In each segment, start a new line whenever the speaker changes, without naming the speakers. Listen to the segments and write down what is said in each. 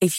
If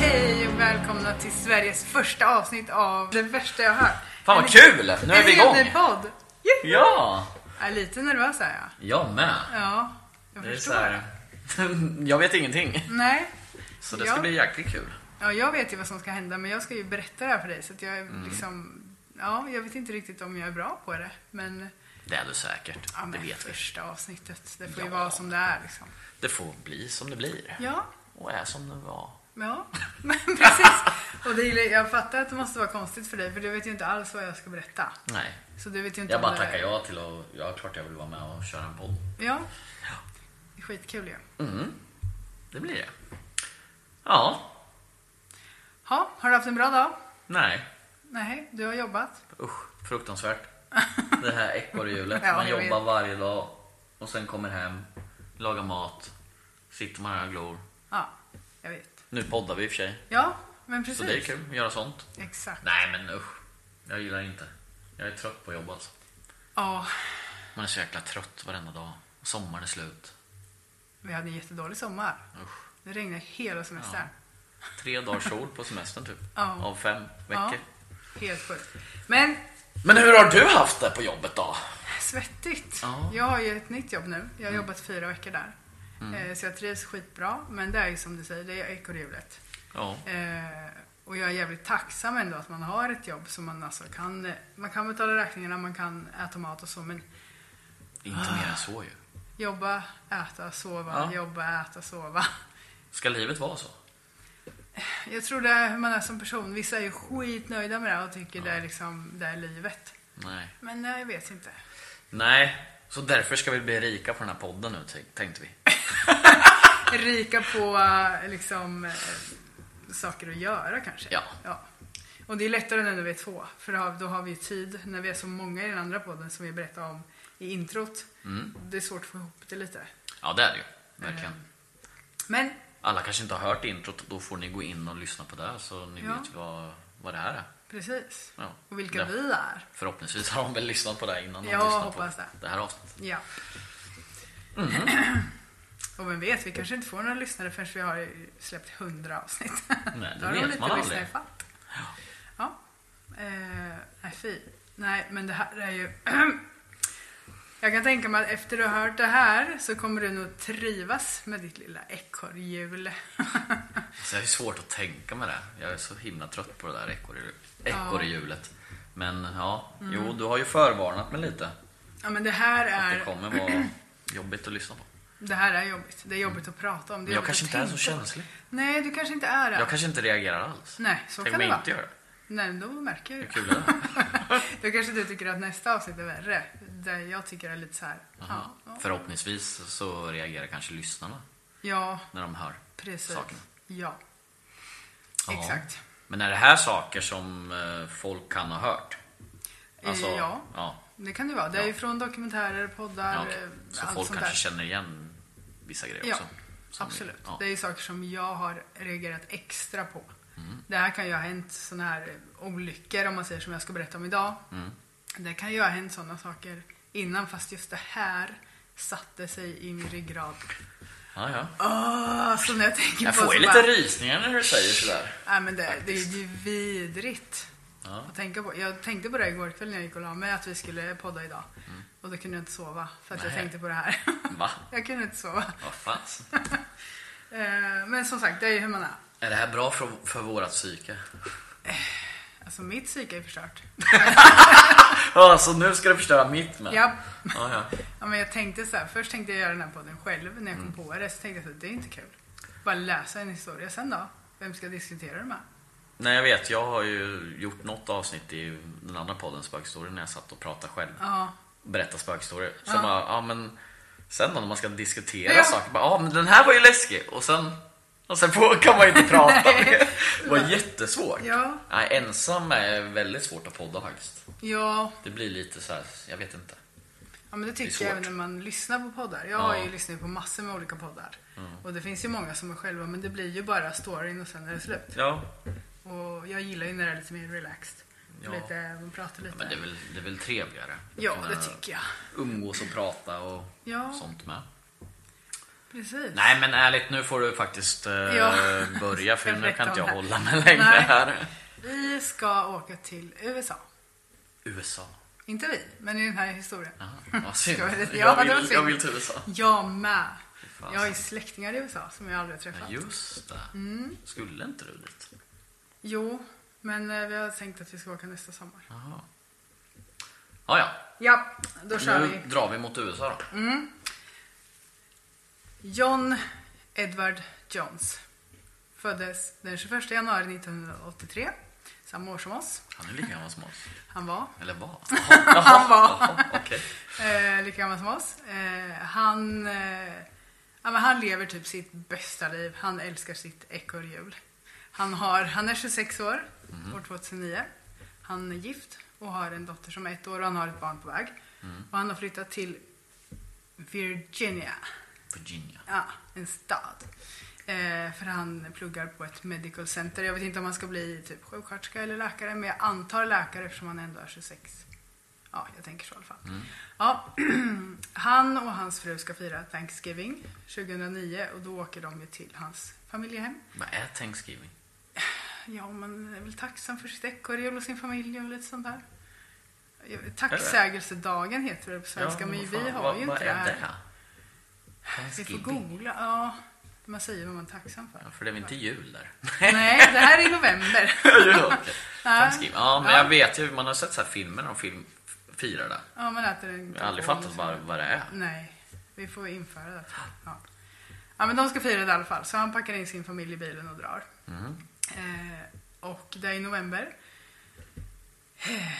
Hej och välkomna till Sveriges första avsnitt av Det värsta jag hört.
Fan vad kul! Nu är vi
En
igång!
podd. Juhu!
Ja,
Jag är lite nervös är jag.
jag med.
Ja, jag
Det är
förstår.
så här, jag vet ingenting,
Nej.
så det ska
Ja.
bli jäkligt kul.
Ja, jag vet ju vad som ska hända men jag ska ju berätta det här för dig så att jag är
Mm.
liksom... Ja, jag vet inte riktigt om jag är bra på det. Men,
Det är du säkert,
ja,
det
men
vet vi.
första avsnittet. Det får ju
Ja.
vara som det är liksom.
Det får bli som det blir.
Ja,
Och är som det var.
ja. Men precis. Och det, gillar- jag fattar att det måste vara konstigt för dig för du vet ju inte alls vad jag ska berätta.
Nej.
Så du vet ju inte
Jag
om
bara
det-
tackar ja till och ja, klart jag vill vara med och köra en podd. Mm.
Ja. Det är skitkul ju.
Det blir det. Ja,
Ja, har du haft en bra dag?
nej.
Nej, du har jobbat.
Usch, fruktansvärt. Det här ekorrhjulet.
Ja,
Man
jag vet.
jobbar varje dag och sen kommer hem, lagar mat, sitter man här och glor.
Ja, jag vet.
Nu poddar vi i och för sig,
Ja, men precis.
så det är kul att göra sånt.
Exakt.
Nej men usch. Jag gillar inte. Jag är trött på jobb alltså.
Ja,
Man är så jäkla trött varenda dag. Sommaren är slut.
vi hade en jättedålig sommar.
Usch.
Det regnade hela semestern.
Tre dagar sol på semestern typ.
Ja.
Av fem veckor.
Helt sjukt. Men
Men hur har du haft det på jobbet då?
svettigt.
Ja. Mm.
Jag har ju ett nytt jobb nu. Jag har jobbat fyra veckor där. Eh, Så jag trivs skitbra. Men det är ju som du säger, det är ekorrhjulet.
Ja.
Eh, och jag är jävligt tacksam ändå att man har ett jobb som man alltså kan... eh, Man kan betala räkningarna, man kan äta mat och så men
Inte mer än så ju.
jobba, äta, sova,
Ja.
jobba, äta, sova.
Ska livet vara så?
Jag tror det är hur man är som person. Vissa är ju skitnöjda med det här och tycker det är liksom, det är livet.
Nej.
Men nej, jag vet inte.
Nej. Så därför ska vi bli rika på den här podden nu tänk- tänkte vi.
Rika på eh, liksom eh, saker att göra kanske.
Ja.
Och det är lättare nu när vi är två. För då har- då har vi tid, när vi är så många i den andra podden som vi berättade om i introt.
Mm.
Det är svårt att få ihop det lite.
Ja det är det ju. Verkligen.
Men
Eh. Alla kanske inte har hört introt. Då får ni gå in och lyssna på det så ni
Ja.
vet vad, vad det här är.
precis.
Ja.
Och vilka
Ja.
vi är.
Förhoppningsvis har de väl lyssnat på det innan de
Jag
lyssnar
hoppas
på
det.
det här avsnittet.
Ja.
Mm-hmm.
och vem vet, vi kanske inte får några lyssnare förrän vi har släppt hundra avsnitt.
Nej,
Då
det
har de
vet
lite
man
att
aldrig.
lyssna ifatt. Ja. Eh, nej, fy. Nej, men det här är ju... Jag kan tänka mig att efter du har hört det här så kommer du nog trivas med ditt lilla ekorrhjul.
Så jag är svårt att tänka med det. Jag är så himla trött på det där ekorrhjul- ekorrhjulet. Men ja,
Mm.
jo, du har ju förvarnat mig lite.
ja, men det här
Att det
är,
kommer vara jobbigt att lyssna på.
det här är jobbigt. Det är jobbigt att prata om. Det
Men
är jobbigt
jag kanske
att
inte är så
tänka på.
känslig.
Nej, du kanske inte är det.
Jag kanske inte reagerar alls.
Nej, så
Tänk
kan
om
det
jag
vara.
inte gör det.
Nej, då märker jag ju.
Hur kul är det?
Då kanske du tycker att nästa avsnitt är värre. där jag tycker är lite så här.
Aha.
Ja, ja.
Förhoppningsvis så reagerar kanske lyssnarna
ja,
när de hör
precis.
sakerna.
Ja,
Ja.
exakt.
Men är det här saker som eh, folk kan ha hört? Alltså,
Eh, ja.
ja.
Det kan det vara. Det är ju
Ja.
från dokumentärer, poddar,
Ja, okej.
eh,
Så
allt
folk
sånt
kanske
där.
känner igen vissa grejer
Ja,
också? Som-
Absolut.
Ja.
Det är ju saker som jag har reagerat extra på.
Mm.
Det här kan ju ha hänt sådana här eh, olyckor om man säger som jag ska berätta om idag.
Mm.
Det kan ju ha hänt sådana saker innan fast just det här satte sig i min ryggrad.
Ja, ja.
Åh, så när jag tänker
Jag
på
får ju
så bara-
lite rysningar när du säger sådär.
Nej, men det, det är
Faktiskt.
ju vidrigt
Ja.
att tänka på. Jag tänkte på det igår kväll när jag gick och la mig att vi skulle podda idag. Och då kunde jag inte sova för att jag
Mm. Nej.
tänkte på det här.
Va?
Jag kunde inte sova.
Vad fan.
Eh, Men som sagt, det är ju hur man är.
Är det här bra för, för vårat psyke?
Alltså mitt psyke är förstört.
Ja, så nu ska du förstöra mitt med?
Ja.
Ja, ja.
Ja, men jag tänkte så här, först tänkte jag göra den här podden själv när jag
Mm.
kom på det. Så tänkte jag så här, det är inte kul. Bara läsa en historia. Sen då? Vem ska jag diskutera det med?
Nej, jag vet. Jag har ju gjort något avsnitt i den andra podden, Spökhistorier, när jag satt och pratade själv.
Ja.
Berätta spökhistorier. Sen bara, ja men... Sen då när man ska diskutera
Ja.
saker, bara, ja men den här var ju läskig. Och sen... Och sen på, kan man ju inte prata. det var jättesvårt.
Ja.
Nej, ensam är väldigt svårt att podda faktiskt.
Ja,
Det blir lite så här, jag vet inte.
Ja men det tycker
svårt.
jag även när man lyssnar på poddar. Jag har ju lyssnat på massor med olika poddar. Och det finns ju många som är själva men det blir ju bara storyn och sen är det slut.
Ja.
Och jag gillar ju när det är lite mer relaxed.
Ja.
Lite, man pratar lite.
Men det är väl, det är väl trevligare?
Ja,
Kunna
det tycker jag.
Umgås och prata och
Ja.
sånt med.
Precis.
Nej men ärligt, nu får du faktiskt eh,
Ja.
börja för nu
Perfekt
kan inte jag
om det.
hålla mig längre
Nej.
här.
Vi ska åka till USA.
USA.
Inte vi, men i den här historien.
Jaha, vad synd.
Ska vi-
Jag
det var
vill-
synd.
jag vill till USA.
Jag med.
fan.
Jag har ju släktingar i USA som jag aldrig har
Ja,
träffat. Mm.
just det. Skulle inte du dit?
Jo, men eh, vi har tänkt att vi ska åka nästa sommar.
Jaha. Ja, ja.
Ja, då kör vi.
Nu drar vi mot USA då.
Mm. John Edward Jones föddes den 21 januari 1983, samma år som oss.
Han är lika gammal som oss.
Han var
Eller var?
Han var.
Jaha, Okej.
eh, lika gammal som oss. Eh, han, eh, ja, men han lever typ sitt bästa liv. Han älskar sitt ekorrhjul. Han, har, han är 26 år,
Mhm.
år 2009. Han är gift och har en dotter som är ett år och han har ett barn på väg.
Mm.
Och han har flyttat till Virginia.
Virginia.
Ja, en stad. Eh, för han pluggar på ett medical center. Jag vet inte om han ska bli typ sjuksköterska eller läkare, men jag antar läkare eftersom han ändå är 26. Ja, jag tänker så i alla fall.
Mm.
Ja, han och hans fru ska fira Thanksgiving 2009 och då åker de ju till hans familjehem.
Vad är Thanksgiving?
Ja, man är väl tacksam för sitt ekorrhjul och sin familj och lite sånt där. Ja, Tacksägelsedagen heter det på svenska, men
vad
vi
fan,
har
vad,
ju
vad
inte
är
här.
det?
Vi får
Thanksgiving.
googla. Ja, man säger vad man är tacksam för.
Ja, för det är väl inte jul där?
Nej, det här är i november.
ja, okej. Thanksgiving. Ja, men jag vet ju. Man har sett så här filmer när de film, firar det.
Ja, man äter en
Jag har aldrig fattat vad, vad det är.
Nej, vi får införa det. Ja. ja, men de ska fira det i alla fall. Så han packar in sin familj i bilen och drar. Eh, och det är i november. Eh,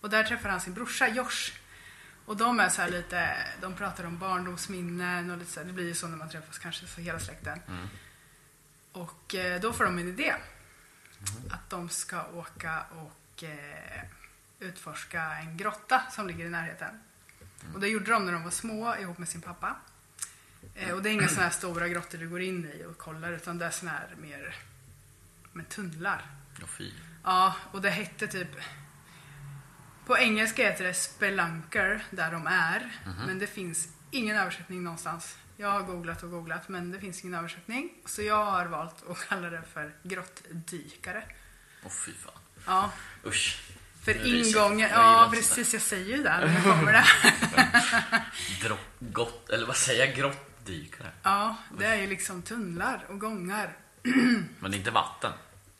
Och där träffar han sin brorsa Josh. Och de är så här lite, de pratar om barndomsminnen och lite så här, det blir ju så när man träffas kanske, så hela släkten. Och eh, då får de en idé. Att de ska åka och eh, utforska en grotta som ligger i närheten. Och det gjorde de när de var små ihop med sin pappa. Eh, och det är inga sådana här stora grottor du går in i och kollar utan det är sådana här mer med tunnlar.
Åh fy.
Ja, och det hette typ... På engelska heter det spelunker, där de är.
Mhm.
Men det finns ingen översättning någonstans. Jag har googlat och googlat, men det finns ingen översättning. Så jag har valt att kalla det för grottdykare.
Åh fy fan.
Ja,
Usch. Nu
för
ryser jag.
ingången...
Jag gillar
Ja,
inte sånt där.
precis. Jag säger ju det. här, Nu kommer det.
Drott, gott, eller vad säger jag? Grottdykare.
ja, det är ju liksom tunnlar och gångar.
Men det är inte vatten.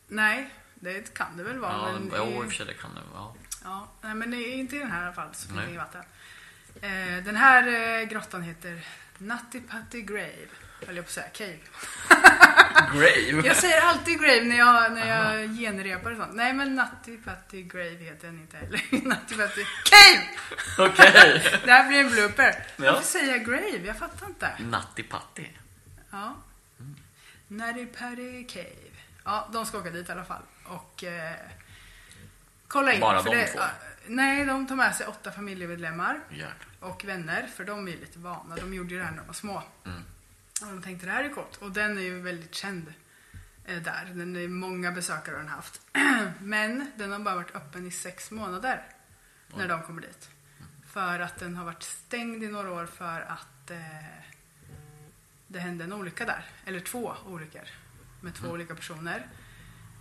Nej, det kan det väl vara.
Ja,
men
ja,
i-
i och för sig det kan det vara.
Ja, nej, men det är inte i den här i alla fall så finns
Nej.
det inget vatten. Eh, den här eh, grottan heter Natty Putty Grave. höll jag på att säga, cave.
Grave?
Jag säger alltid grave när jag, när jag genrepar och sånt. Nej men Nutty Patty Grave heter den inte heller. Nutty Patty Cave!
Okej.
Det här blir en blooper.
Ja.
Varför säger jag grave? Jag fattar inte.
Natti Patti.
Ja.
Mm.
Natty Patty Cave. Ja, de ska åka dit i alla fall. Och eh, kolla in.
Bara
för
de
det,
två?
ja, Nej, de tar med sig åtta familjemedlemmar
Jäklar.
och vänner, för de är ju lite vana. De gjorde ju det här när de var små.
Mm.
Och de tänkte det här är coolt. Och den är ju väldigt känd eh, där. Den är många besökare har den haft. Men den har bara varit öppen i sex månader när de kommer dit.
Mm.
För att den har varit stängd i några år för att eh, det hände en olycka där. Eller två olyckor med två olika personer.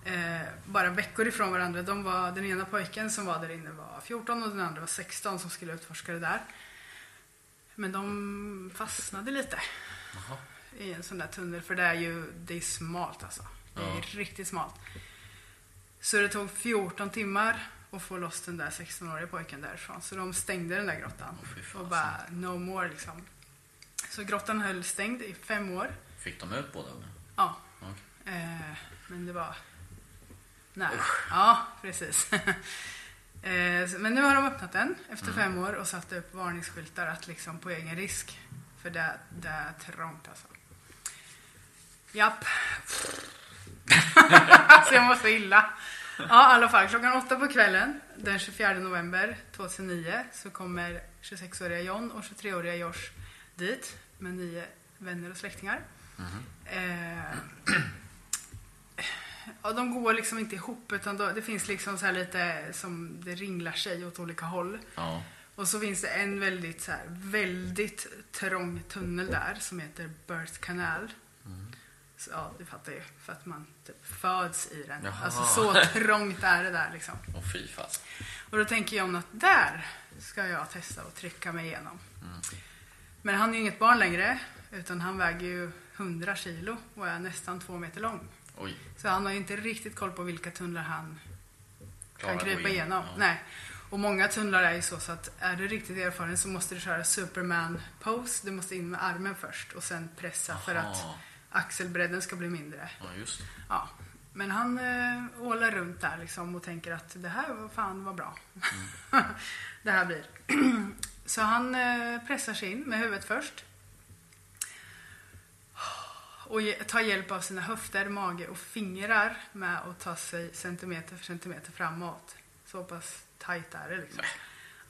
Eh, bara veckor ifrån varandra. De var, den ena pojken som var där inne var 14 och den andra var 16 som skulle utforska det där. Men de fastnade lite i en sån där tunnel. För det är ju det är smalt alltså. Det är riktigt smalt. Så det tog 14 timmar att få loss den där 16-åriga pojken därifrån. Så de stängde den där grottan.
fy fasen.
och bara no more liksom. Så grottan höll stängd i fem år.
Fick de ut båda? eller?
Ja.
Okej.
Eh, men det var... Nej. Ja, precis. eh, så- men nu har de öppnat den efter fem år och satt upp varningsskyltar att liksom på egen risk. För det, det är trångt alltså. Japp. alltså jag mår så illa. Ja, i alla fall. Klockan åtta på kvällen den 24 november 2009 så kommer 26-åriga John och 23-åriga Josh dit med nio vänner och släktingar.
Mhm.
Eh, ja, de går liksom inte ihop utan då, det finns liksom så här lite som det ringlar sig åt olika håll.
Ja.
Och så finns det en väldigt, så här, väldigt trång tunnel där som heter Birth Canal.
Mhm.
Så, ja, du fattar ju. För att man typ föds i den.
Jaha.
Alltså så trångt är det där liksom.
Åh fy fasen.
Och då tänker John att där ska jag testa att trycka mig igenom.
Mm.
Men han är ju inget barn längre. Utan han väger ju 100 kilo och är nästan två meter lång.
Oj.
Så han har ju inte riktigt koll på vilka tunnlar han
Klarar
kan
att gå
krypa
in.
igenom.
Ja.
Nej. Och många tunnlar är ju så, så att är du riktigt erfaren så måste du köra Superman pose. Du måste in med armen först och sen pressa för
Aha.
att axelbredden ska bli mindre.
Ja, just det.
Ja. Men han eh, ålar runt där liksom och tänker att det här var fan var bra.
Mm.
det här blir. så han eh, pressar sig in med huvudet först. Och ge- tar hjälp av sina höfter, mage och fingrar med att ta sig centimeter för centimeter framåt. Så pass tajt är det liksom.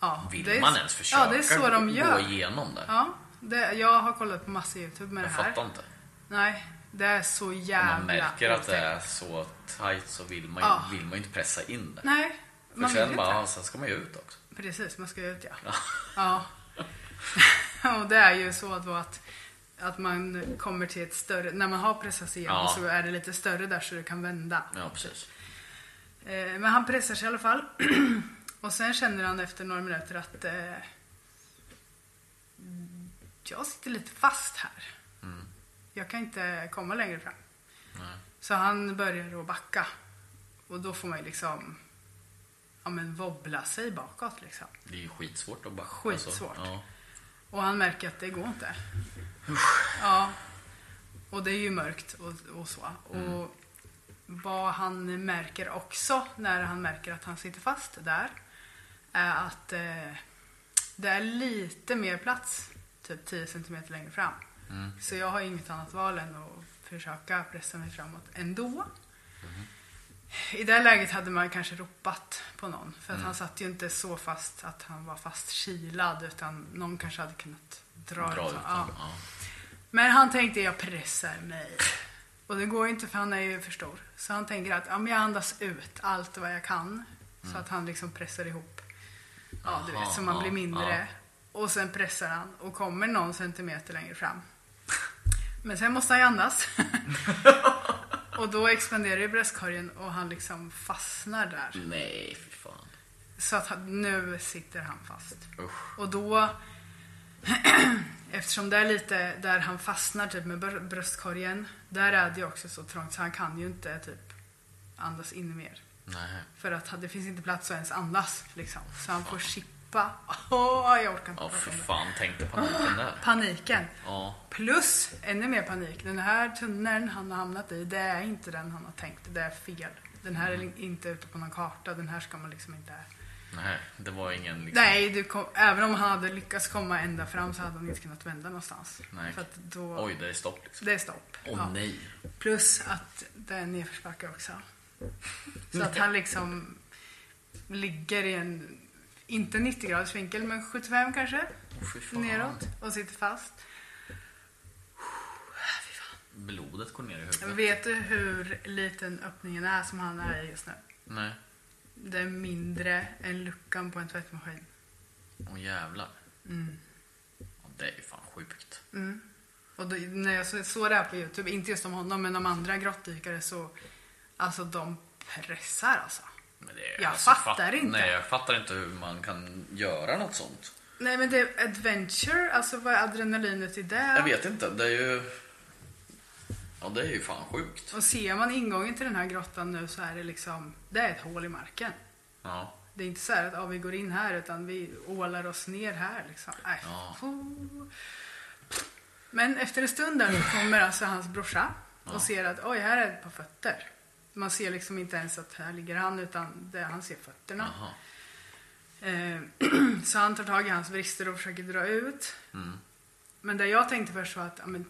Ja,
Vill
det är-
man ens försöka
Ja, det är så de gör.
gå igenom det?
Ja, det, jag har kollat på massa YouTube med
jag
det här.
fattar inte.
Nej, det är så
Om
jävla
man märker att det
otäckt.
är så tight så vill man ju,
Ja.
vill man ju inte pressa in det.
Nej,
För
man vill
sen,
inte.
bara, ja, sen ska man ju ut också.
Precis, man ska ju ut ja.
Ja.
ja. och det är ju så att, att, att man kommer till ett större, när man har pressat sig igenom
Ja.
så är det lite större där så det kan vända.
Ja, precis.
Eh, men han pressar sig i alla fall. och sen känner han efter några minuter att eh, jag sitter lite fast här. Jag kan inte komma längre fram. Så han börjar att backa. Och då får man ju liksom ja, men wobbla sig bakåt liksom.
Det är ju skitsvårt att bara... Alltså,
Skitsvårt.
ja.
Och han märker att det går inte. Ja. Och det är ju mörkt och, och så. Och vad han märker också när han märker att han sitter fast där är att eh, det är lite mer plats, typ 10 centimeter längre fram. Så jag har inget annat val än att försöka pressa mig framåt ändå. I det läget hade man kanske ropat på någon. För att han satt ju inte så fast att han var fastkilad utan någon kanske hade kunnat dra,
Dra
ut
ut
honom.
dem.
Ja.
Ja.
Men han tänkte jag pressar mig. Och det går ju inte för han är ju för stor. Så han tänker att ja, men jag andas ut allt vad jag kan. Så att han liksom pressar ihop. Ja, du
Aha,
vet, så man
ja,
blir mindre. Och sen pressar han och kommer någon centimeter längre fram. Men sen måste han ju andas. och då expanderar ju bröstkorgen och han liksom fastnar där.
Nej, fy fan.
Så att han, nu sitter han fast.
Usch.
Och då, eftersom det är lite där han fastnar typ med br- bröstkorgen, där är det ju också så trångt så han kan ju inte typ andas in mer.
Nej.
För att det finns inte plats att ens andas liksom. Så han får chippa Pappa. Åh, jag orkar inte
Ja,
prata
för
om det.
fan. Tänk dig paniken där.
Paniken.
Ja.
Plus ännu mer panik. Den här tunneln han har hamnat i, det är inte den han har tänkt. Det är fel. Den här
Mm.
är inte ute på någon karta. Den här ska man liksom inte...
Nej, det var ingen liksom...
Nej, du kom, även om han hade lyckats komma ända fram så hade han inte kunnat vända någonstans.
Nej.
För att då...
Oj, det är stopp liksom.
Det är stopp.
Åh
Ja.
nej.
Plus att det är nedförsbacke också. Så att han liksom ligger i en, inte 90 graders vinkel, men 75 kanske.
Åh, fy fan.
Neråt och sitter fast.
Blodet går ner i huvudet.
Vet du hur liten öppningen är som han är i just nu?
Nej.
Det är mindre än luckan på en tvättmaskin.
Åh jävlar. Mm. Ja, det är ju fan sjukt.
Och då, när jag så- såg det här på Youtube, inte just om honom, men om andra grottdykare så, alltså de pressar alltså.
Men det är, alltså,
Jag fattar inte.
Nej, jag fattar inte hur man kan göra något sånt.
Nej men det är adventure, alltså vad är adrenalinet i det?
Jag vet inte, det är ju... Ja, det är ju fan sjukt.
Och ser man ingången till den här grottan nu så är det liksom, det är ett hål i marken.
Ja.
Det är inte så här att ah, vi går in här utan vi ålar oss ner här liksom. Nej.
Ja.
Fuh. Men efter en stund där så kommer alltså hans brorsa och ser att oj, här är ett par fötter. Man ser liksom inte ens att här ligger han utan det, han ser fötterna.
Jaha.
Eh, så han tar tag i hans brister och försöker dra ut.
Mm.
Men det jag tänkte först var att, ja men,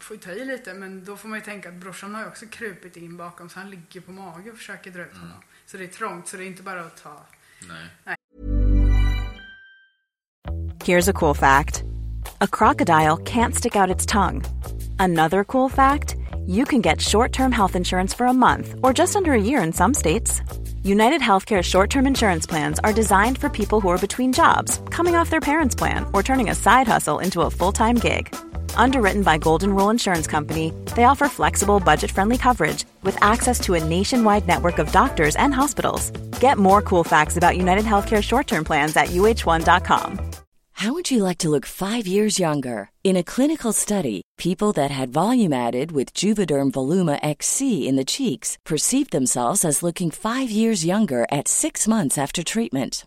får ju ta i lite, men då får man ju tänka att brorsan har ju också krupit in bakom så han ligger på mage och försöker dra ut
Mm.
honom. Så det är trångt, så det är inte bara att ta
Nej.
Here's a cool fact a crocodile can't stick out its tongue. Another cool fact you can get short term health insurance for a month or just under a year in some states. United Healthcare short term insurance plans are designed for people who are between jobs, coming off their parents' plan, or turning a side hustle into a full time gig. Underwritten by Golden Rule Insurance Company, they offer flexible, budget friendly coverage with access to a nationwide network of doctors and hospitals. Get more cool facts about United Healthcare short term plans at uh1.com.
How would you like to look five years younger? In a clinical study, people that had volume added with Juvederm Voluma XC in the cheeks perceived themselves as looking five years younger at six months after treatment.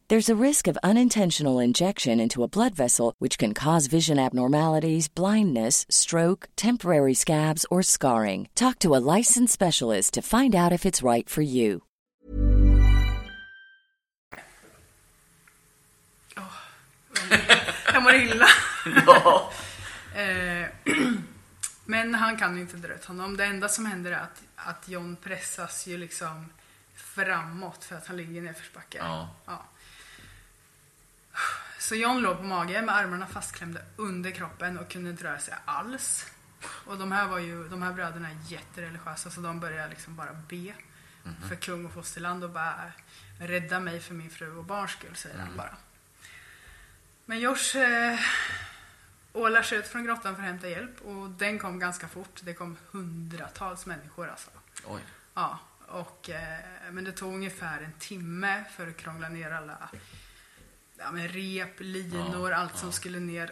There's a risk of unintentional injection into a blood vessel, which can cause vision abnormalities, blindness, stroke, temporary scabs, or scarring. Talk to a licensed specialist to find out if it's right for you.
Jag mår illa.
Ja.
Eh, Men han kan ju inte dra ut honom. Det enda som händer är att, att John pressas ju liksom framåt för att han ligger i nedförsbacke.
Ja.
Så John låg på mage med armarna fastklämda under kroppen och kunde inte röra sig alls. Och de här, var ju, de här bröderna är jättereligiösa så de började liksom bara be
Mhm.
för kung och fosterland och bara rädda mig för min fru och barns skull, säger
Mm.
han bara. Men Josh eh, ålar sig ut från grottan för att hämta hjälp och den kom ganska fort. Det kom hundratals människor alltså.
Oj.
Ja, och, eh, men det tog ungefär en timme för att krångla ner alla ja, men rep, linor, allt som skulle ner.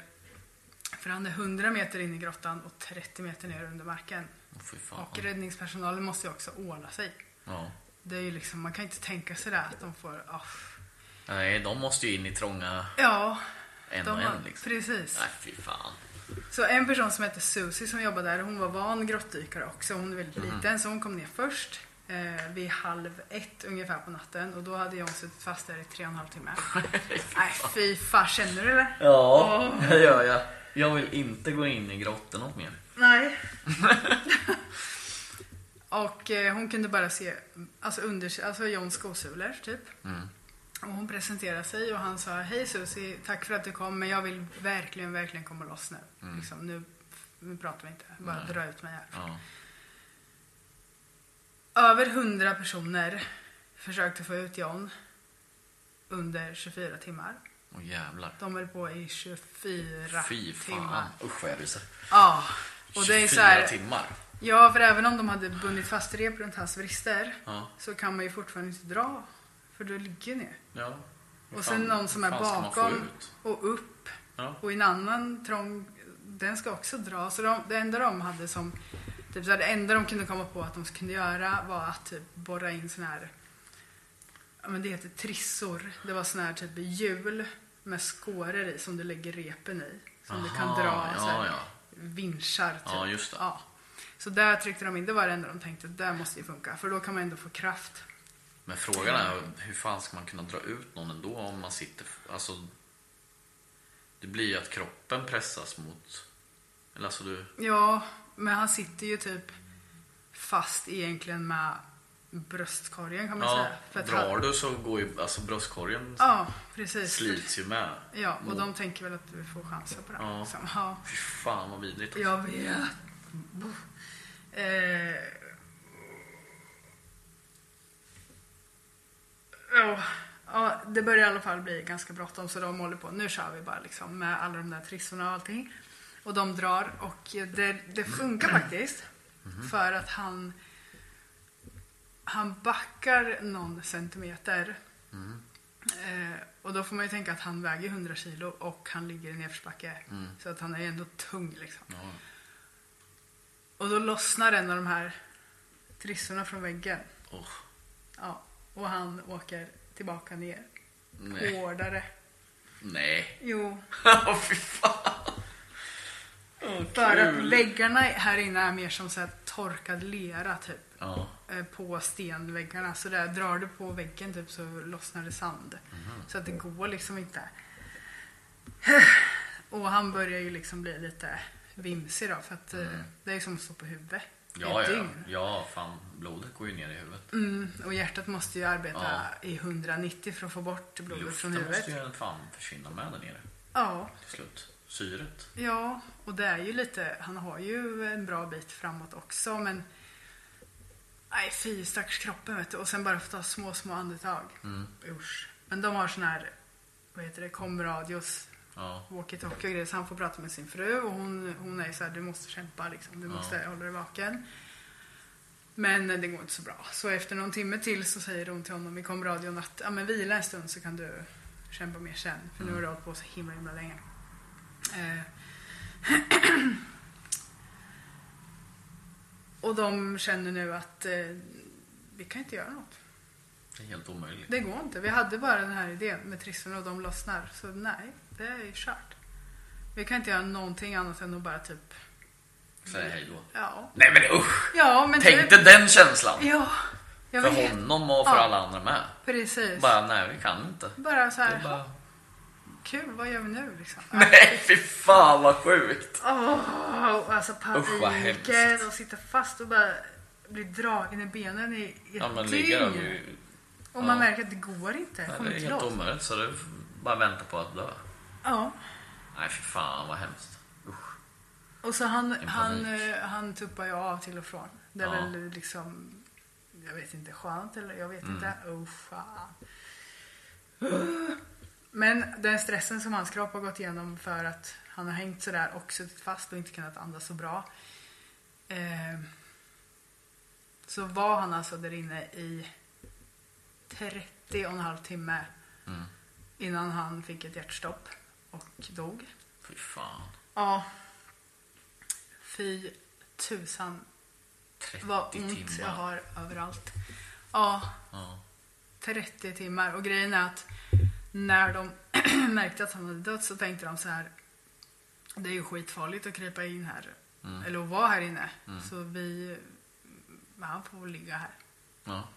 För han är 100 meter in i grottan och 30 meter ner under marken.
Åh, fy fan.
Och räddningspersonalen måste ju också ordna sig.
Ja.
Det är ju liksom, man kan inte tänka sig det att de får... ja, f-
Nej, de måste ju in i trånga
Ja,
en
de
och
har,
en liksom.
precis.
Nej, fy fan.
Så en person som hette Susie som jobbade där, hon var van grottdykare också. Hon är väldigt liten så hon kom ner först eh, vid halv ett ungefär på natten och då hade jag suttit fast där i tre och en halv timme. Nej fy fan, känner du det?
Ja, det gör jag. Jag vill inte gå in i grottorna mer.
Nej. och eh, hon kunde bara se alltså under, alltså Johns skosulor typ.
Mm.
Och hon presenterade sig och han sa Hej Susie, tack för att du kom men jag vill verkligen, verkligen komma loss nu.
Mm.
Liksom, nu, nu pratar vi inte, bara dra ut mig här.
Ja.
Över 100 personer försökte få ut John under 24 timmar.
Åh jävlar.
De höll på i 24
Fy fan.
timmar.
Usch vad jag ryser.
Ja. Och det är så här,
24 timmar.
Ja, för även om de hade bundit fast rep runt hans vrister
Ja.
så kan man ju fortfarande inte dra. För du ligger ner.
Ja.
Och sen någon som är
fan ska man få
bakom
ut?
och upp.
Ja.
Och en annan trång, den ska också dra. Så de, det enda de hade som, typ så här, det enda de kunde komma på att de kunde göra var att typ borra in sån här, ja men det heter trissor. Det var sån här typ hjul med skåror i som du lägger repen i. Som du kan
Aha,
dra
ja,
så här,
ja.
vinschar typ.
Ja, just det.
Ja. Så där tryckte de in, det var det enda de tänkte, det där måste ju funka. För då kan man ändå få kraft.
Men frågan är hur fan ska man kunna dra ut någon ändå om man sitter... Alltså, det blir ju att kroppen pressas mot... Eller alltså du...
Ja, men han sitter ju typ fast egentligen med bröstkorgen kan man
Ja,
säga. För att
drar
han,
du så går ju alltså bröstkorgen
Ja, precis.
slits ju med.
Ja, och
mot-
de tänker väl att vi får chanser på det.
Mm. Ja.
Liksom. Ja,
Fy fan vad vidrigt. alltså.
jag vet. Eh, ja, ja, det börjar i alla fall bli ganska bråttom så de håller på. Nu kör vi bara liksom med alla de där trissorna och allting. Och de drar och det, det funkar faktiskt. För att han han backar någon centimeter. Eh, och då får man ju tänka att han väger 100 kilo och han ligger i nedförsbacke. Så att han är ju ändå tung liksom. Och då lossnar en av de här trissorna från väggen.
Åh,
Ja, och han åker tillbaka ner.
nej.
Hårdare.
Nej.
Jo,
Åh, Fy fan. Åh,
för att
kul.
väggarna här inne är mer som så här torkad lera typ.
Ja.
eh, på stenväggarna. Så där drar du på väggen typ så lossnar det sand.
Mm-hmm.
Så att det går liksom inte. Och han börjar ju liksom bli lite vimsig då för att eh, det är ju som att stå på huvudet. i
Mm. Ja,
ett
ja,
dygn.
ja, fan. Blodet går ju ner i huvudet.
Mm, och hjärtat måste ju arbeta i 190 för att få bort blodet från
Luften
huvudet.
måste ju fan försvinna med där nere
Ja,
till slut. Syret.
ja, och det är ju lite, han har ju en bra bit framåt också men Nej fy stackars kroppen vet du. Och sen bara få ta små, små andetag.
Mm.
Usch. Men de har sån här, vad heter det, komradios
Ja.
walkie-talkie och grejer. Så han får prata med sin fru och hon, hon är så här, du måste kämpa liksom. Du måste hålla dig vaken. Men eh, det går inte så bra. Så efter någon timme till så säger hon till honom i komradion att ja, men vila en stund så kan du kämpa mer sen. För nu har du hållit på så himla, himla länge. Eh. och de känner nu att eh, vi kan inte göra något.
Det är helt omöjligt.
Det går inte. Vi hade bara den här idén med trissorna och de lossnar. Så nej, det är ju kört. Vi kan inte göra någonting annat än att bara typ...
Säg hej då.
Ja.
Nej men usch!
Ja, men typ-
Tänk dig den känslan!
Ja. Jag
För
vet.
honom och för
Ja.
alla andra med.
Precis. Bara,
Bara, nej vi kan inte.
så här,
Det bara,
kul, vad gör vi nu liksom?
nej fy fan vad sjukt!
Åh, alltså
Usch, vad
paniken
hemskt.
och sitta fast och bara bli dragen i benen i i
Ja men
ett
ligger de
dygn.
ju...
Och man
ja.
märker att det går inte.
Nej,
Kommer
det är
inte
helt
loss.
omöjligt så du får bara vänta på att dö.
Ja.
Nej fy fan vad hemskt. Usch.
Och så han,
En
han,
panik.
eh, han tuppar ju av till och från. Det är
Ja.
väl liksom, jag vet inte, skönt eller jag
Mm.
vet inte. Oh, fan. Men den stressen som hans kropp har gått igenom för att han har hängt sådär och suttit fast och inte kunnat andas så bra. Eh, så var han alltså där inne i 30 och en halv timme
Mm.
innan han fick ett hjärtstopp och dog.
Fy fan.
Ja. Fy tusan
30
vad ont
timmar.
jag har överallt. Ja,
Ja.
30 timmar. Och grejen är att när de märkte att han hade dött så tänkte de så här. Det är ju skitfarligt att krypa in här.
Mm.
Eller att vara här inne. Så vi... Han får väl ligga här.
ja.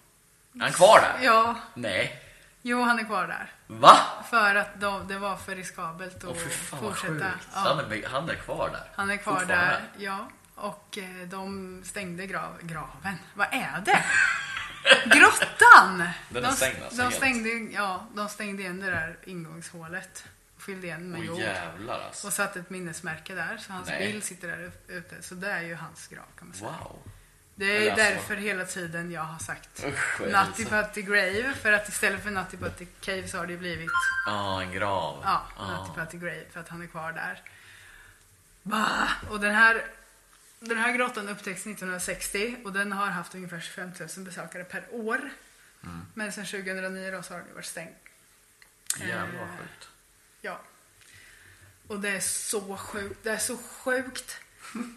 Är han kvar där?
Ja,
Nej.
jo han är kvar där.
Va?
För att de, det var för riskabelt att
Åh fy fan vad
fortsätta.
sjukt.
Ja.
Han, är, han är kvar där.
Han är kvar
Fortfarande.
där, ja. Och eh, de stängde grav, graven. Vad är det? Grottan!
Den är
de,
stängd alltså,
de
helt.
stängde, ja, de stängde igen det där ingångshålet. Fyllde igen med
Åh
jord.
jävlar alltså.
Och satte ett minnesmärke där, så hans
Nej.
bild sitter där ute. Så det är ju hans grav kan man säga.
Wow.
Det är
Eller alltså-
därför hela tiden jag har sagt
Usch, vad är det
Nutty Putty Grave. För att istället för Nutty Putty Cave så har det blivit
Ja, en grav.
ja, Nutty Putty Grave för att han är kvar där. Bah! Och den här, den här grottan upptäcktes 1960 och den har haft ungefär 25 000 besökare per år.
Mm.
Men sedan 2009 då så har den ju varit stängd.
Jävlar vad sjukt.
Ja. Och det är så sjukt. Det är så sjukt.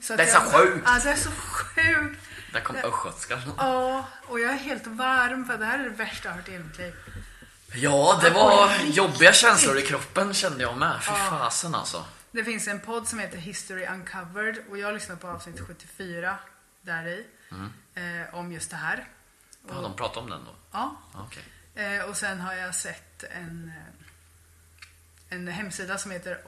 Så att
Det är så
jag-
sjukt.
Ja, det är så sjukt.
Där kom
Det-
östgötskan.
Ja, och jag är helt varm för det här är det värsta jag har hört i hela mitt liv.
Ja, det var jobbiga känslor i kroppen kände jag med. Fy fasen alltså.
Det finns en podd som heter History Uncovered och jag lyssnade på avsnitt 74 där i. Eh, om just det här.
Ja, de pratade Mm. om den då?
Ja.
Okej.
Eh, och sen har jag sett en, eh, en hemsida som heter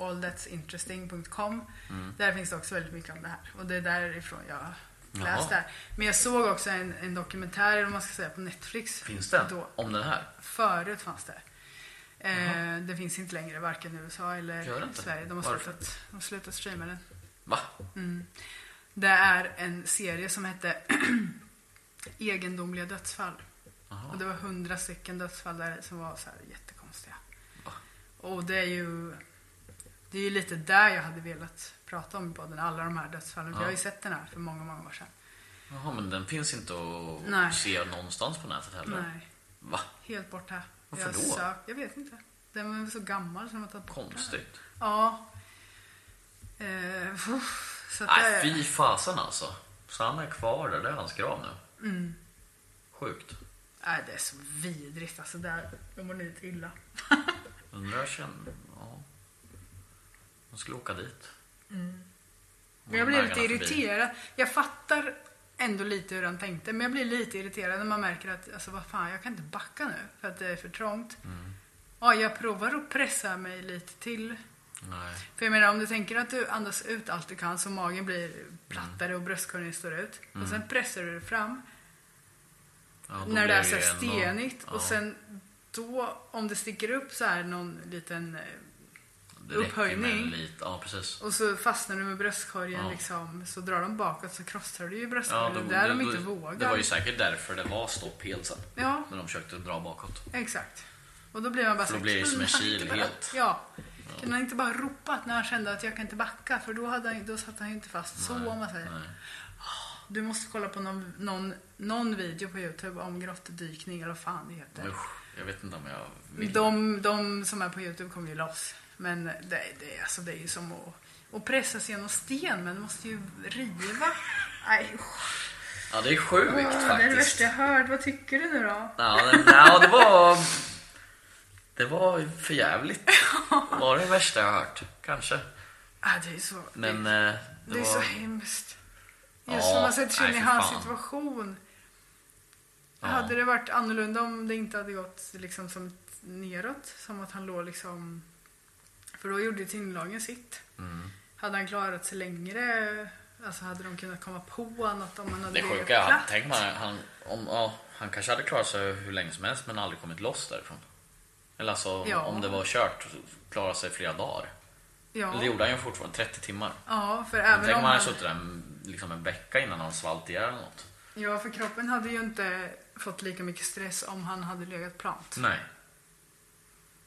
allthat'sinteresting.com.
Mm.
Där finns det också väldigt mycket om det här. Och det är därifrån jag har läst det här. Men jag såg också en, en dokumentär, eller vad man ska säga, på Netflix.
Finns den?
Då.
Om den här?
Förut fanns det. Eh, det finns inte längre, varken i USA
Gör det
eller
inte?
Sverige. De har,
Varför?
slutat, de har slutat streama den. Mm.
Va?
Det är en serie som hette Egendomliga dödsfall. Och det var hundra stycken dödsfall där som var så här jättekonstiga. Och det är ju Det är ju lite där jag hade velat prata om i podden, alla de här dödsfallen. För jag har ju sett den här för många, många år sedan.
Jaha, men den finns inte att
Nej.
se någonstans på nätet heller?
Nej,
Va?
helt borta.
Varför
jag
då?
sökt- jag vet inte. Den var så gammal som de har tagit bort den.
Konstigt.
Ja. Eh, uff, så att
Nej,
det,
fy fasen alltså. Så han är kvar där, det är hans grav nu. Sjukt.
Mm. nej, det är så vidrigt alltså. Där, jag mår lite illa.
Undrar jag känner... Ja. Man skulle åka dit.
Men jag blir lite
Vägarna förbi.
irriterad. Jag fattar ändå lite hur han tänkte, men jag blir lite irriterad när man märker att alltså, vad fan, jag kan inte backa nu för att det är för trångt.
Mm.
Ja, jag provar att pressa mig lite till.
Nej.
För jag menar, om du tänker att du andas ut allt du kan så magen blir plattare och bröstkorgen står ut. Och sen pressar du dig fram
Ja, Mm. då
när det
blir
är så här
ju ändå-
stenigt.
ja,
Och sen då, om det sticker upp så här någon liten... eh,
det räcker
upphöjning.
med Lite, ja, precis.
Och så fastnar du med bröstkorgen
Ja.
liksom, så drar de bakåt så krossar du ju
Ja,
bröstkorgen.
då-
det är där de
då-
inte
då-
vågar.
Det var ju säkert därför det var stopp helt sen.
Ja.
När de försökte dra bakåt.
Exakt. Och då blir man bara så
För då
här,
blir det som en
kunde han
kil
inte bara-
helt.
Ja. Kunde han inte bara ropat när han kände att jag kan inte backa för då, hade han, då satt han ju inte fast så om man säger.
Nej.
Du måste kolla på någon, någon, någon video på Youtube om grottdykning eller vad fan det heter.
Usch, jag vet inte om jag vill.
De, de som är på Youtube kommer ju loss. Men det, det, alltså det är ju som att, att pressas genom sten men måste ju riva. Nej, usch.
Ja, det är sjukt
det är det
faktiskt.
värsta jag hört. Vad tycker du nu då?
Ja, det, ja, det var... Det var för jävligt. Det var det värsta jag har hört. Kanske.
Ah, det är så...
Men
det,
eh, det,
Det, är
var...
så hemskt. Just
Ja,
när man sätter sig in i
nej, för
hans
fan.
situation.
Ja.
Hade det varit annorlunda om det inte hade gått liksom som ett- neråt? Som att han låg liksom... För då gjorde ju tyngdlagen sitt.
Mm.
Hade han klarat sig längre? Alltså hade de kunnat komma på något om han hade
Det
legat
sjuka, han,
platt?
tänk man, han, om, ja, han kanske hade klarat sig hur länge som helst men aldrig kommit loss därifrån. Eller alltså
Ja.
om det var kört, klara sig flera dagar. Eller det
Ja.
gjorde han ju fortfarande, 30 timmar.
ja, för
Men
även
tänk
om
om
han...
han hade suttit där en- liksom en vecka innan han svalt ihjäl eller något.
Ja, för kroppen hade ju inte fått lika mycket stress om han hade legat plant.
Nej.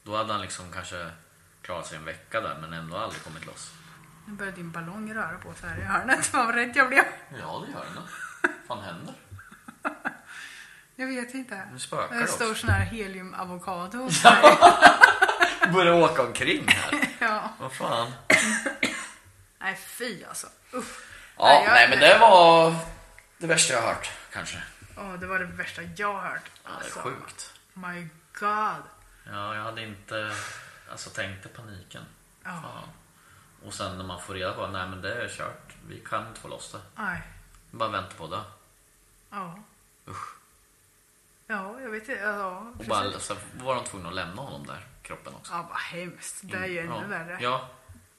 Då hade han liksom kanske klarat sig en vecka där men ändå aldrig kommit loss.
Nu börjar din ballong röra på sig här i hörnet. Fan vad rädd jag blev.
Ja det gör han. fan händer?
Jag vet inte.
Nu spökar det
En Eh, stor
också.
sån här heliumavokado hos
Börjar åka omkring här.
Ja.
Vad fan.
Nej fy alltså. Uff.
Ja,
jag-
nej men det var det värsta jag har hört kanske.
Åh, det var det värsta jag har hört.
Ja, det är
Alltså,
sjukt.
My God.
Ja, jag hade inte alltså, tänkt på paniken.
Ja.
Fan. Och sen när man får reda på att nej men det är kört, vi kan inte få loss det.
Nej.
Bara vänta på det.
Ja.
Usch.
Ja, jag vet inte. Ja,
Och
precis.
bara, så var de tvungna att lämna honom där, kroppen också. Mm.
Ja, vad hemskt. Det är ju ännu
ja.
värre.
Ja,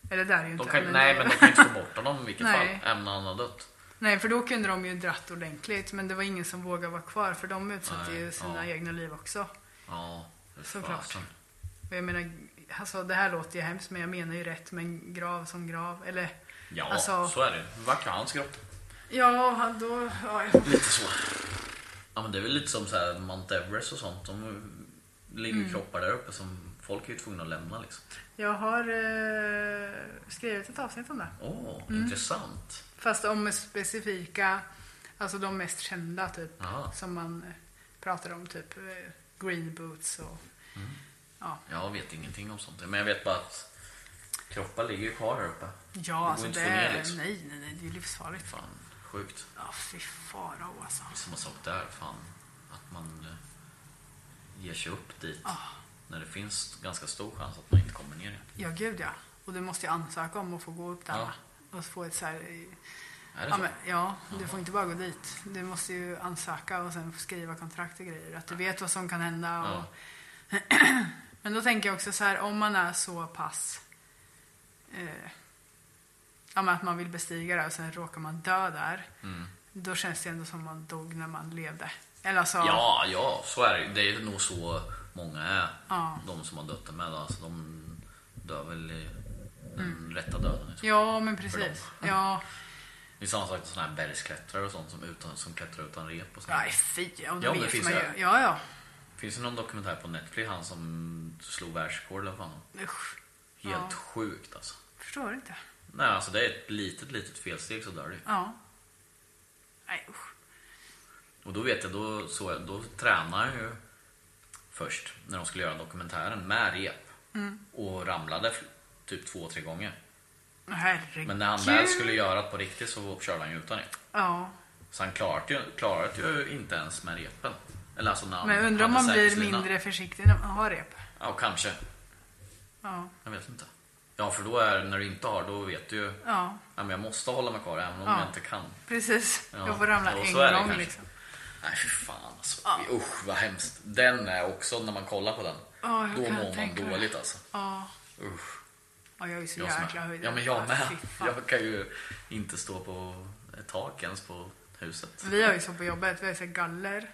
Eller det är det ju
de
inte.
kan,
men
nej
det-
men de kan inte få bort honom i vilket
Nej.
fall, även när han har dött.
nej, för då kunde de ju dratt ordentligt. Men det var ingen som vågade vara kvar för de utsatte
Nej,
ju sina
ja.
egna liv också.
Ja, hur
Såklart.
fasen.
Och jag menar, alltså, det här låter ju hemskt men jag menar ju rätt med en grav som grav. Eller,
Ja,
alltså,
så är det. Vacker hans kropp.
Ja, då... Ja, jag-
Lite så. Ja men det är väl lite som så här Mount Everest och sånt. De ligger ju kroppar där uppe som folk är ju tvungna att lämna liksom.
jag har eh, skrivit ett avsnitt om det.
Åh,
Mm.
intressant.
Fast om specifika, alltså de mest kända typ.
Aha.
Som man eh, pratar om, typ eh, green boots och... Ja,
Jag vet ingenting om sånt. Men jag vet bara att kroppar ligger ju kvar där uppe.
ja alltså
inte
det
att få ner,
är...
liksom.
Nej, nej, nej, det är livsfarligt.
Fan, sjukt.
Ja, fy farao alltså.
Samma sak där, fan. Att man eh, ger sig upp dit.
Ah.
När det finns ganska stor chans att man inte kommer ner igen.
Ja, gud ja. Och du måste ju ansöka om att få gå upp där.
Ja.
va? Och få ett så här... eh,
Är det
Ja,
så?
men, ja, du får inte bara gå dit. Du måste ju ansöka och sen skriva kontrakt och grejer. Att du vet vad som kan hända. Och... men då tänker jag också så här, om man är så pass... Eh, ja, men att man vill bestiga det och sen råkar man dö där.
Mm.
Då känns det ändå som man dog när man levde. Eller alltså,
Ja, ja, så är det ju. Det är nog så många är.
Ja.
De som har dött med. Alltså, de dör väl i den rätta döden. Liksom.
Mm. ja, men precis.
För
Ja,
Det är samma sak med sådana här bergsklättrare och sånt som, utan, som klättrar utan rep och sånt.
nej fy. Ja, det
Ja, men det
vet
finns
man
det.
ju. Ja, ja.
Finns det någon dokumentär på Netflix, han som slog världsrekord eller vad fan?
Usch,
Helt
Ja.
sjukt alltså.
förstår inte.
Nej, alltså det är ett litet, litet felsteg så dör du ju.
Ja. Nej, usch.
Och då vet jag, då, så, då tränade han ju först när de skulle göra dokumentären med rep.
Mm.
Och ramlade fl- typ två, tre gånger.
Herregud.
Men när han väl skulle göra det på riktigt så körde han ju utan rep.
Ja.
Så han klarade ju, klarade ju inte ens med repen. Eller alltså när han
Men jag undrar om
hade
man blir
säkerhetslina.
mindre försiktig när man har rep.
Ja, kanske.
Ja.
Jag vet inte. Ja, för då är när du inte har, då vet du ju.
Ja.
men jag måste hålla mig kvar även om
Ja.
jag inte kan.
Precis.
Ja.
Jag får ramla
Jo,
en
så är det
gång
kanske.
liksom.
Nej, fy fan alltså. Usch, vad hemskt. Den är också, när man kollar på den,
Ja, jag
då
kan
mår man
tänka mig.
dåligt alltså.
Ja.
Usch.
ja, jag är ju så
Jag som är-
jäkla höjdrädd.
Ja men jag
Ja,
med.
fy fan.
Jag kan ju inte stå på ett tak ens på huset.
Vi har ju så på jobbet, vi har så här galler,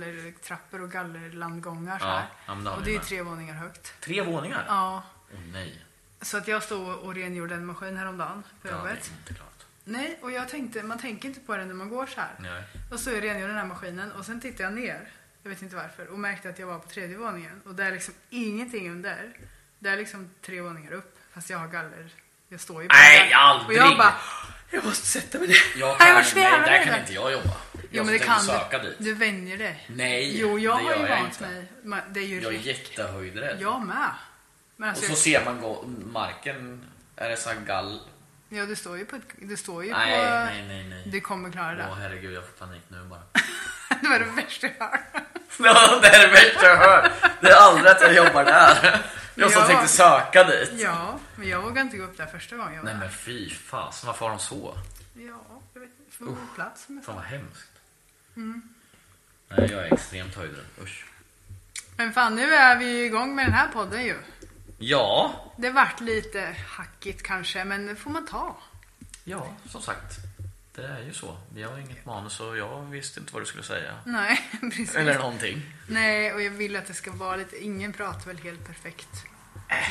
gallertrappor och gallerlandgångar så
Ja,
här.
ja, men det har
och
vi
det är ju
med.
tre våningar högt.
Tre våningar?
Ja.
Åh nej.
Så att jag stod och rengjorde en maskin häromdagen på
Det hade jag
jobbet.
inte klarat.
Nej, och jag tänkte, man tänker inte på det när man går så här.
Nej.
Och så rengjorde jag den här maskinen och sen tittade jag ner, jag vet inte varför, och märkte att jag var på tredje våningen. Och det är liksom ingenting under. Det är liksom tre våningar upp, fast jag har galler. Jag står ju på
Nej,
galler.
aldrig!
Och jag bara, jag måste sätta mig ner.
Jag
Nej,
kan,
jag var
nej,
så jävla
där
rädd.
kan inte jag jobba.
Jo,
Jag
men det
som
kan
tänker söka
du.
dit.
Du vänjer dig.
Nej,
Jo, jag
det
har ju
gör jag
vant
inte.
mig. Man- Det är ju
Jag är
rätt.
jättehöjdrädd.
Jag med. Men
Och
alltså,
så ser man gå, marken, är det så här gall...
ja, du står ju på, ett- du står ju
Nej,
på...
nej, nej, nej.
Du kommer klara
Åh
det.
herregud, jag får panik nu bara.
Det var det värsta jag har hört.
Ja, det är det värsta jag hör. Det är aldrig att jag jobbar där. Jag som
Ja.
tänkte söka dit.
Ja, men jag vågade inte gå upp där första gången jag var
Nej men
där.
fy fasen, varför har de så?
Ja, jag vet inte. Får man plats med
Fan vad hemskt.
Mm.
Nej, jag är extremt höjdrädd. Usch.
Men fan, nu är vi igång med den här podden ju.
Ja.
Det vart lite hackigt kanske, men det får man ta.
Ja, som sagt. Det är ju så. Vi har inget manus och jag visste inte vad du skulle säga.
Nej, precis.
Eller någonting.
Nej, och jag vill att det ska vara lite... Ingen pratar väl helt perfekt?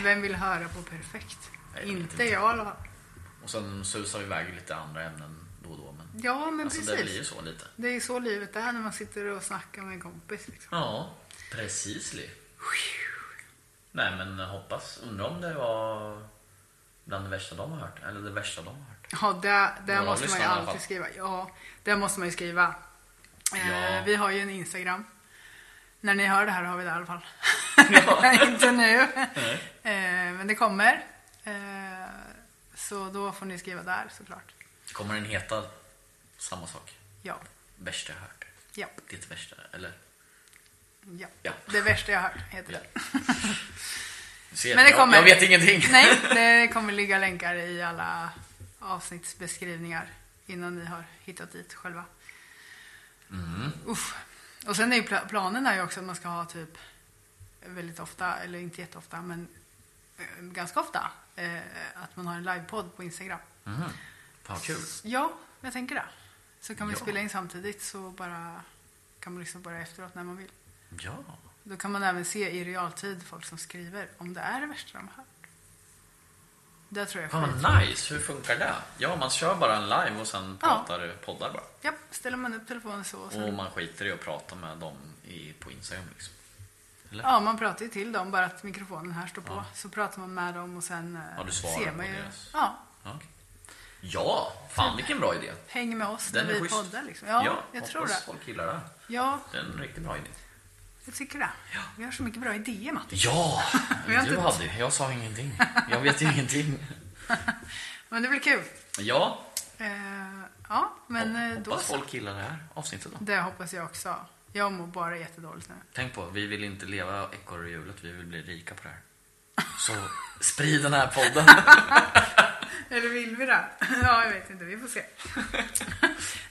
Vem vill höra på perfekt?
Äh. Nej, jag vet
inte
inte.
jag i alla fall.
Och sen susar vi iväg lite andra ämnen då och då. Men,
Ja, men
alltså, det blir ju
precis.
så lite.
Det är ju så livet är när man sitter och snackar med en kompis. Liksom.
Ja, precis. Li. Nej men hoppas. Undrar om det var bland det värsta de har hört. Eller det värsta de har hört.
Ja, där, där
Några
måste man
lyssnar
ju
i alla
alltid
fall.
skriva. Ja, där måste man ju skriva. Eh,
Ja.
Vi har ju en Instagram. När ni hör det här har vi det i alla fall. Inte nu. Eh, men det kommer. Eh, så då får ni skriva där såklart.
Kommer den heta samma sak?
Ja,
Värsta jag hört.
ja,
Ditt värsta, eller?
ja.
Ja.
Det värsta jag har hört heter
Ja.
det.
Du Ser,
Men det kommer.
Jag, jag vet ingenting.
Nej, det kommer ligga länkar i alla avsnittsbeskrivningar innan ni har hittat dit själva. Uff. Och sen är ju pla- planen är ju också att man ska ha typ väldigt ofta, eller inte jätteofta, men eh, ganska ofta, eh, att man har en livepodd på Instagram.
Fan vad kul.
Ja, jag tänker det. Så kan vi
Ja.
spela in samtidigt så bara kan man lyssna på det efteråt när man vill.
Ja.
Då kan man även se i realtid folk som skriver om det är det värsta de har hört. Det tror jag är
Fan
skit.
vad Ah, nice, hur funkar det? Ja, man kör bara en live och sen
Ja.
pratar, poddar bara.
Ja, ställer man upp telefonen så. Och sen...
Och man skiter i att prata med dem i, på Instagram liksom.
Ja, man pratar ju till dem bara att mikrofonen här står på. Så pratar man med dem och sen eh,
Ja, du svarar
ser man
på
ju.
deras-
Ja,
Ja, okej. Ja, fan vilken bra idé.
häng med oss
Den
när
är
vi
schysst.
poddar liksom. Ja, jag
hoppas
tror det.
folk gillar det.
Ja,
Det är en riktigt bra idé.
jag tycker det. Vi har så mycket bra idéer Matti.
Ja,
Vi har
du
inte-
hade Jag sa ingenting. Jag vet ju ingenting.
Men det blir kul.
Ja,
Eh, ja, men eh, då
hoppas
så.
folk gillar det här avsnittet då.
Det hoppas jag också. Jag mår bara jättedåligt nu.
Tänk på, vi vill inte leva ekorrhjulet, vi vill bli rika på det här. Så sprid den här podden.
Eller vill vi det? Ja, jag vet inte. Vi får se.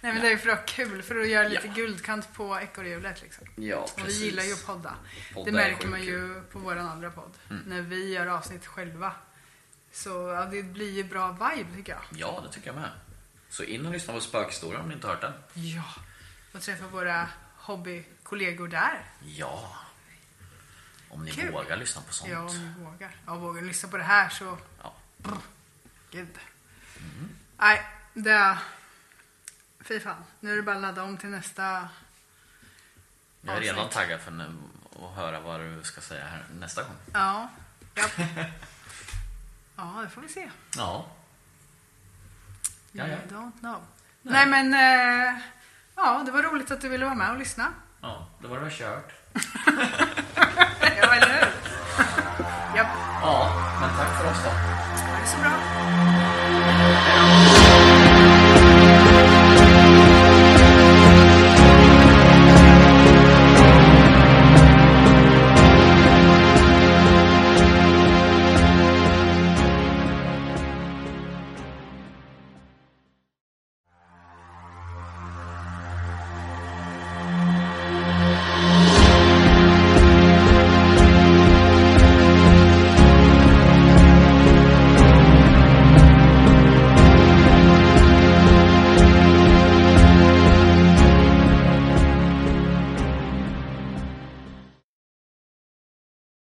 Nej, men det är ju för att ha kul. För att göra lite
Ja.
guldkant på ekorrhjulet liksom.
Ja,
Och vi gillar ju att podda.
Podda
det
är Mm.
märker
sjukt
man ju på vår andra podd. När vi gör avsnitt själva. Så ja, det blir ju bra vibe tycker jag.
Ja, det tycker jag med. Så in och lyssna på Spökhistorien om ni inte har hört den.
Ja. Och träffa våra hobbykollegor där.
Ja. Om ni
Kul.
vågar lyssna på sånt.
Ja, om ni vågar. Ja, vågar ni lyssna på det här så...
Ja. Mm.
Gud. Nej, det... Fy fan. Nu är det bara att ladda om till nästa...
Jag är redan
Avsnitt.
taggad för nu att höra vad du ska säga här nästa gång.
Ja. Japp. ja, det får vi se.
Ja. Ja, ja.
You don't know. Nej, men... eh, Ja, det var roligt att du ville vara med och lyssna.
Ja, då var det väl kört.
Ja, eller hur? Japp.
Ja, men tack för oss då.
Ha det så bra.
Hej då.